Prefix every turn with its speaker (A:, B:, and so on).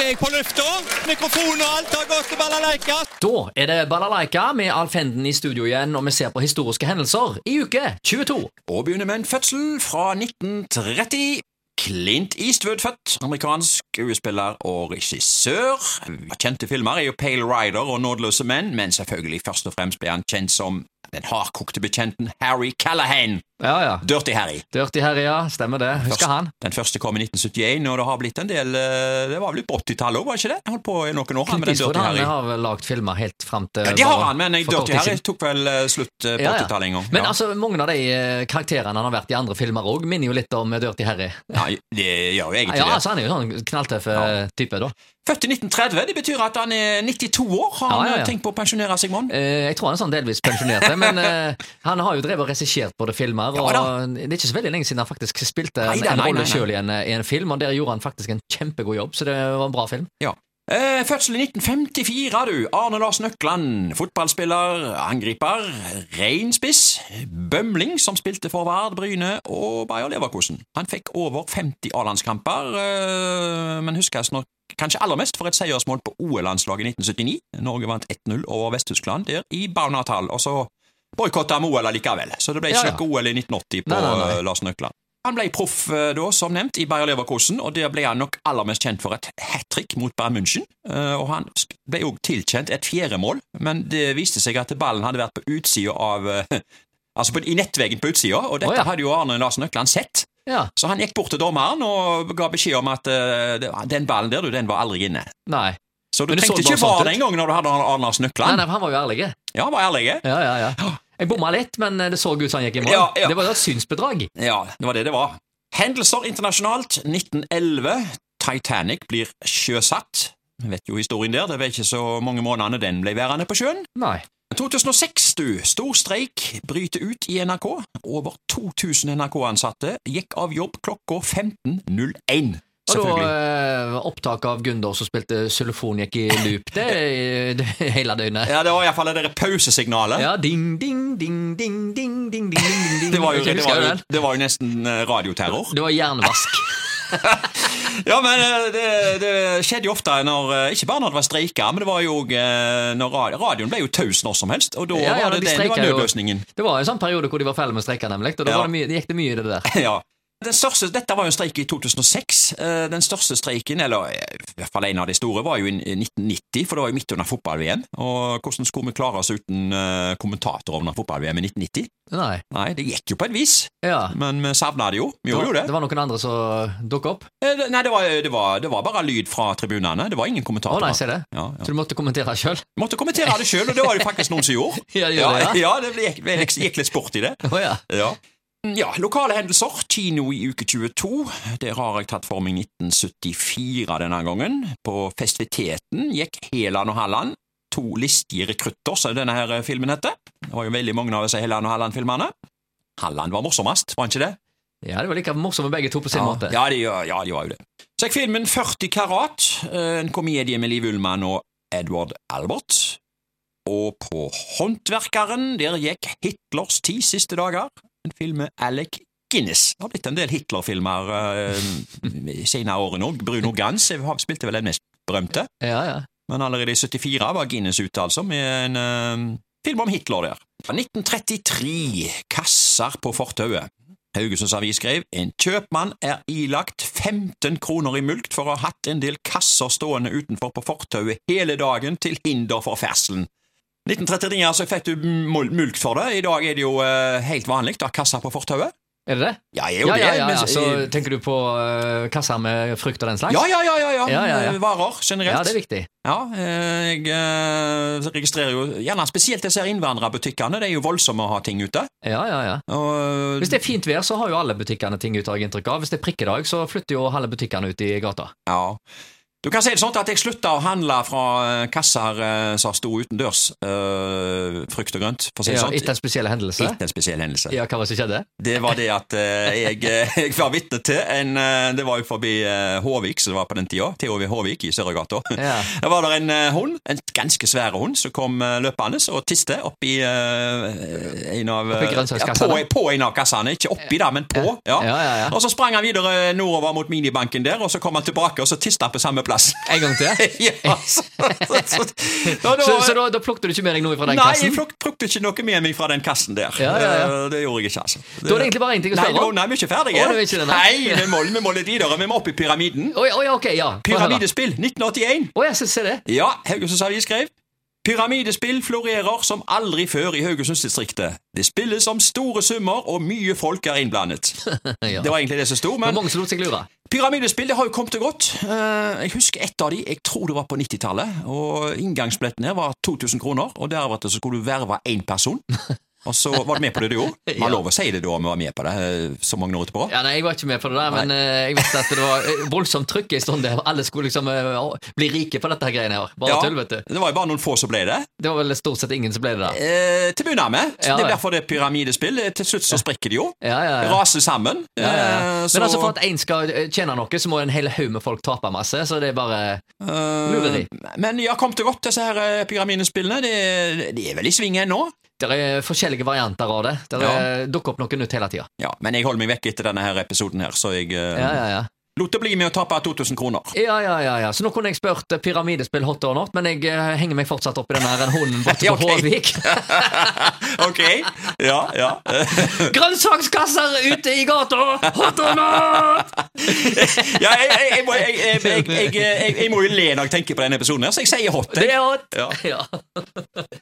A: er jeg på lufta. Mikrofon og alt har gått til balalaika.
B: Da er det balalaika med Alf Henden i studio igjen, og vi ser på historiske hendelser i uke 22.
C: Og begynner med en fødsel fra 1930. Clint Eastwood født, amerikansk skuespiller og regissør. Kjente filmer er jo Pale Rider og Nådeløse menn, men selvfølgelig først og fremst ble han kjent som den hardkokte bekjenten Harry Callahan.
B: Ja, ja.
C: Dirty Harry.
B: Dirty Harry, ja. Stemmer det. Husker han.
C: Den første kom i 1971, og det har blitt en del eh, Det var vel på 80-tallet òg, var det ikke det? Han holdt på i noen år han,
B: Clint
C: med den
B: Eastwood
C: Dirty
B: han
C: Harry.
B: har vel lagd filmer helt fram til
C: Ja, det har
B: bare
C: han, men eh,
B: for kort
C: Dirty
B: tid
C: Harry
B: siden.
C: tok vel eh, slutt eh, på
B: Ja, ja.
C: 80-tallet en gang.
B: Men
C: Ja.
B: altså, mange av de eh, karakterene han har vært i andre filmer òg, minner jo litt om eh, Dirty Harry.
C: Nei, det gjør jo egentlig
B: Ja,
C: det.
B: altså, han er jo sånn knalltøff eh, type, da.
C: Født i 1930, det betyr at han er 92 år. Har han
B: Ja, ja, ja.
C: eh, tenkt på å pensjonere seg, mann?
B: Eh, jeg tror han er sånn delvis pensjonert, men eh, han har jo drevet og regissert både filmer,
C: Ja,
B: og
C: da.
B: det er ikke så veldig lenge siden han faktisk spilte
C: Nei,
B: en,
C: nei,
B: en
C: nei, nei,
B: rolle
C: nei.
B: sjøl i, en- eh, i en film, og der gjorde han faktisk en kjempegod jobb, så det var en bra film.
C: Ja. Eh, fødsel i 1954, du. Arne Lars Nøkland. Fotballspiller, angriper, rein spiss. Bømling, som spilte for Vard, Bryne og Bayer Leverkosen. Han fikk over 50 A-landskamper, eh, men huskes nok kanskje aller mest for et seiersmål på OL-landslaget i 1979. Norge vant 1-0 over Vest-Tyskland der i Baunatal, og så boikotta vi OL allikevel. Så det ble ikke
B: Ja, ja.
C: noe OL i 1980 på
B: Nei, nei, nei.
C: eh, Lars Nøkland. Han ble proff eh, da, som nevnt, i Bayer Leverkusen, og der ble han nok aller mest kjent for et hat trick mot Bayern München. Eh, Og han sk- ble òg tilkjent et fjerde mål, men det viste seg at ballen hadde vært på utsida av eh, Altså på, i nettveggen på utsida, og dette
B: Å, ja.
C: hadde jo Arne Larsen Økland sett.
B: Ja,
C: Så han gikk bort til dommeren og ga beskjed om at eh, det- den ballen der, du, den var aldri inne.
B: nei.
C: Så du
B: Men det så
C: trengte
B: bare
C: ikke
B: sånn
C: var
B: ut.
C: den gangen når du hadde Arne Larsen
B: Nei,
C: Økland.
B: nei, for han var jo ærlig.
C: Ja, var ærlig. jeg.
B: Ja, ja, ja. Jeg bomma litt, men det så ut som han gikk i mål.
C: Ja, ja.
B: Det var jo et synsbedrag.
C: Ja, det var det det var. Hendelser internasjonalt. 1911. Titanic blir sjøsatt. Vi vet jo historien der. Det var ikke så mange månedene den ble værende på sjøen.
B: Nei.
C: 2006, du. Stor streik bryter ut i NRK. Over 2000 NRK-ansatte gikk av jobb klokka 15.01.
B: Og da
C: Selvfølgelig.
B: eh, opptak av Gunder som spilte xylofon gikk i loop det, det hele døgnet.
C: Ja, det var iallfall det der pausesignalet.
B: Ja, ding, ding, ding, ding, ding, ding, ding, ding, ding.
C: Det var, jo,
B: Ikke
C: det,
B: husker
C: var
B: du
C: jo,
B: den?
C: det var jo nesten eh, radioterror.
B: Det var jernvask.
C: Ja, men eh, det, det skjedde jo ofte når eh, Ikke bare når det var streiker, men det var jo òg eh, når ra- radioen ble jo taus når som helst. Og da
B: Ja, ja,
C: var det
B: de
C: den, det var
B: streiker jo.
C: nødløsningen.
B: Det var en sånn periode hvor de var ferdig med streika, nemlig. Og da
C: Ja.
B: var det mye, det gikk det mye i det der.
C: ja. Den største, dette var jo en streik i 2006. Eh, Den største streiken, eller eh, i hvert fall en av de store, var jo i 1990, for det var jo midt under fotball-VM. Og hvordan skulle vi klare oss uten eh, kommentator under fotball-VM i 1990?
B: Nei.
C: Nei, det gikk jo på et vis,
B: Ja.
C: men vi savna det jo. Vi gjorde jo det.
B: Det var noen andre som dukka opp.
C: Eh, det- Nei, det var, det, var, det var bare lyd fra tribunene. Det var ingen
B: Å
C: kommentator.
B: nei, se det.
C: ja, ja.
B: Så du måtte kommentere sjøl?
C: Måtte kommentere det sjøl, og det var det faktisk noen som gjorde.
B: Ja, det gjorde det,
C: ja, det gikk, det gikk litt sport i det.
B: Å ja.
C: Ja. ja, lokale hendelser. Kino i uke 22. Der har jeg tatt for meg 1974 denne gangen. På festiviteten gikk Heland og Halland. To listige rekrutter, som denne her filmen heter. Det var jo veldig mange av disse Heland og Halland-filmene. Halland var morsommest, var han ikke det?
B: Ja, det var like morsomme begge to på sin
C: ja.
B: måte.
C: Ja, de, ja, de var jo det. Så gikk filmen 40 karat, eh, en komedie med Liv Ullmann og Edward Albert. Og på Håndverkeren, der gikk Hitlers ti siste dager, en film med Alec Guinness. Det har blitt en del Hitler-filmer eh, i senere årene òg. Bruno Gans spilte vel den mest berømte,
B: Ja, ja.
C: men allerede i 74 var Guinness ute, altså, med en eh, film om Hitler der. 1933. Kasser på fortauet. Haugesunds Avis skrev en kjøpmann er ilagt 15 kroner i mulkt for å ha hatt en del kasser stående utenfor på fortauet hele dagen til hinder for ferdselen. 1939 altså fikk du mul- mulkt for det. I dag er det jo eh, helt vanlig å ha kasser på fortauet.
B: Er det det?
C: Ja, jeg er jo
B: Ja, ja,
C: det.
B: ja,
C: men-
B: ja. Så tenker du på uh, kasser med frukt og den slags?
C: ja, ja, ja, ja, ja.
B: Ja, ja, ja.
C: Varer generelt.
B: Ja, det er viktig.
C: Ja, eh, jeg eh, registrerer jo gjerne spesielt disse her innvandrerbutikkene. De er jo voldsomme å ha ting ute.
B: Ja, ja, ja.
C: Og,
B: Hvis det er fint vær, så har jo alle butikkene ting ut, har jeg inntrykk av. Hvis det er prikkedag, så flytter jo halve butikkene ut i gata.
C: ja. Du kan si det sånn at jeg slutta å handle fra eh, kasser eh, som sto utendørs, eh, frukt og grønt, for å si det
B: Ja,
C: sånn.
B: etter en spesiell hendelse.
C: Etter en spesiell hendelse.
B: Ja, hva var det som skjedde?
C: Det var det at eh, jeg, eh, jeg var vitne til en eh, Det var jo forbi eh, Håvik, som det var på den tida. THV Håvik i Sørøygata.
B: Ja.
C: Der var det en eh, hund, en ganske svær hund, som kom eh, løpende og tiste oppi eh, en av
B: Oppi
C: eh,
B: grønnsakskassene?
C: Ja, på, på en av kassene. Ikke oppi, da, men på. Ja.
B: Ja, ja, ja.
C: Og så sprang han videre nordover mot minibanken der, og så kom han tilbake, og så tiste han på samme plass.
B: En gang til?
C: ja, så, så, så, Ja, da-
B: Så, så da, da plukket du ikke med deg noe fra den
C: Nei, jeg
B: kassen?
C: pluk- plukket ikke noe med meg fra den kassen der.
B: Ja, ja, ja.
C: Eh, Det gjorde jeg ikke, altså.
B: Da er det egentlig bare én ting å
C: Nei,
B: spørre
C: nå-
B: om.
C: nei, vi er ikke ferdige.
B: Å, det er ikke det, nei.
C: nei, vi må, vi må litt videre. Vi må opp i pyramiden.
B: Oi, oi, ok, ja. Få høre.
C: Pyramidespill 1981.
B: Å ja, se, se det.
C: Ja, Haugesunds Avis skrev Pyramidespill florerer som aldri før i Haugesundsdistriktet. Det spilles om store summer, og mye folk er innblandet.
B: Ja.
C: Det var egentlig det som sto,
B: Det var
C: men
B: mange som lot seg lure.
C: pyramidespill det har jo kommet og gått. Eh, Jeg husker et av de, jeg tror det var på 90-tallet, og inngangsbilletten her var 2000 kroner, og deretter så skulle du verve én person. Og så var du med på det du gjorde.
B: Ja.
C: Man lover å si det da om vi var med på det eh, så mange år etterpå.
B: Ja, nei, Jeg var ikke med på det der, men eh, jeg visste at det var eh, voldsomt trykk en stund der. Alle skulle liksom eh, å, bli rike på dette her greiene her. Bare
C: Ja,
B: tull, vet du.
C: Det var jo bare noen få som ble det.
B: Det var vel stort sett ingen som ble det der.
C: Eh, til å begynne med.
B: Ja,
C: Det er
B: ja.
C: derfor det er pyramidespill. Til slutt så sprekker de jo.
B: Ja, ja, ja.
C: raser sammen.
B: Ja, ja, ja.
C: eh,
B: Men altså for at én skal eh, tjene noe, så må en hel haug med folk tape masse. Så det er bare
C: eh,
B: lureri.
C: Men ja, kom til godt, disse her eh, pyramidespillene. De, de er vel i sving ennå.
B: Det er forskjellige varianter av det. Det er- dukker opp noe nytt hele tida.
C: Ja, men jeg holder meg vekk etter denne her episoden her, så jeg eh,
B: Ja, ja, ja.
C: lot det bli med å tape 2000 kroner.
B: Ja, ja, ja, ja. Så nå kunne jeg spurt eh, pyramidespill hot or not, men jeg eh, henger meg fortsatt opp i den her hunden borte
C: Ja,
B: på
C: ok.
B: Håvik.
C: ok, ja, ja.
B: Grønnsakskasser ute i gata! Hot or not!
C: ja jeg, jeg, jeg, må- jeg, jeg, jeg, jeg, jeg, jeg må jo le når jeg tenker på denne episoden her, så jeg sier hot.
B: Det er hot!
C: Ja.
B: Ja.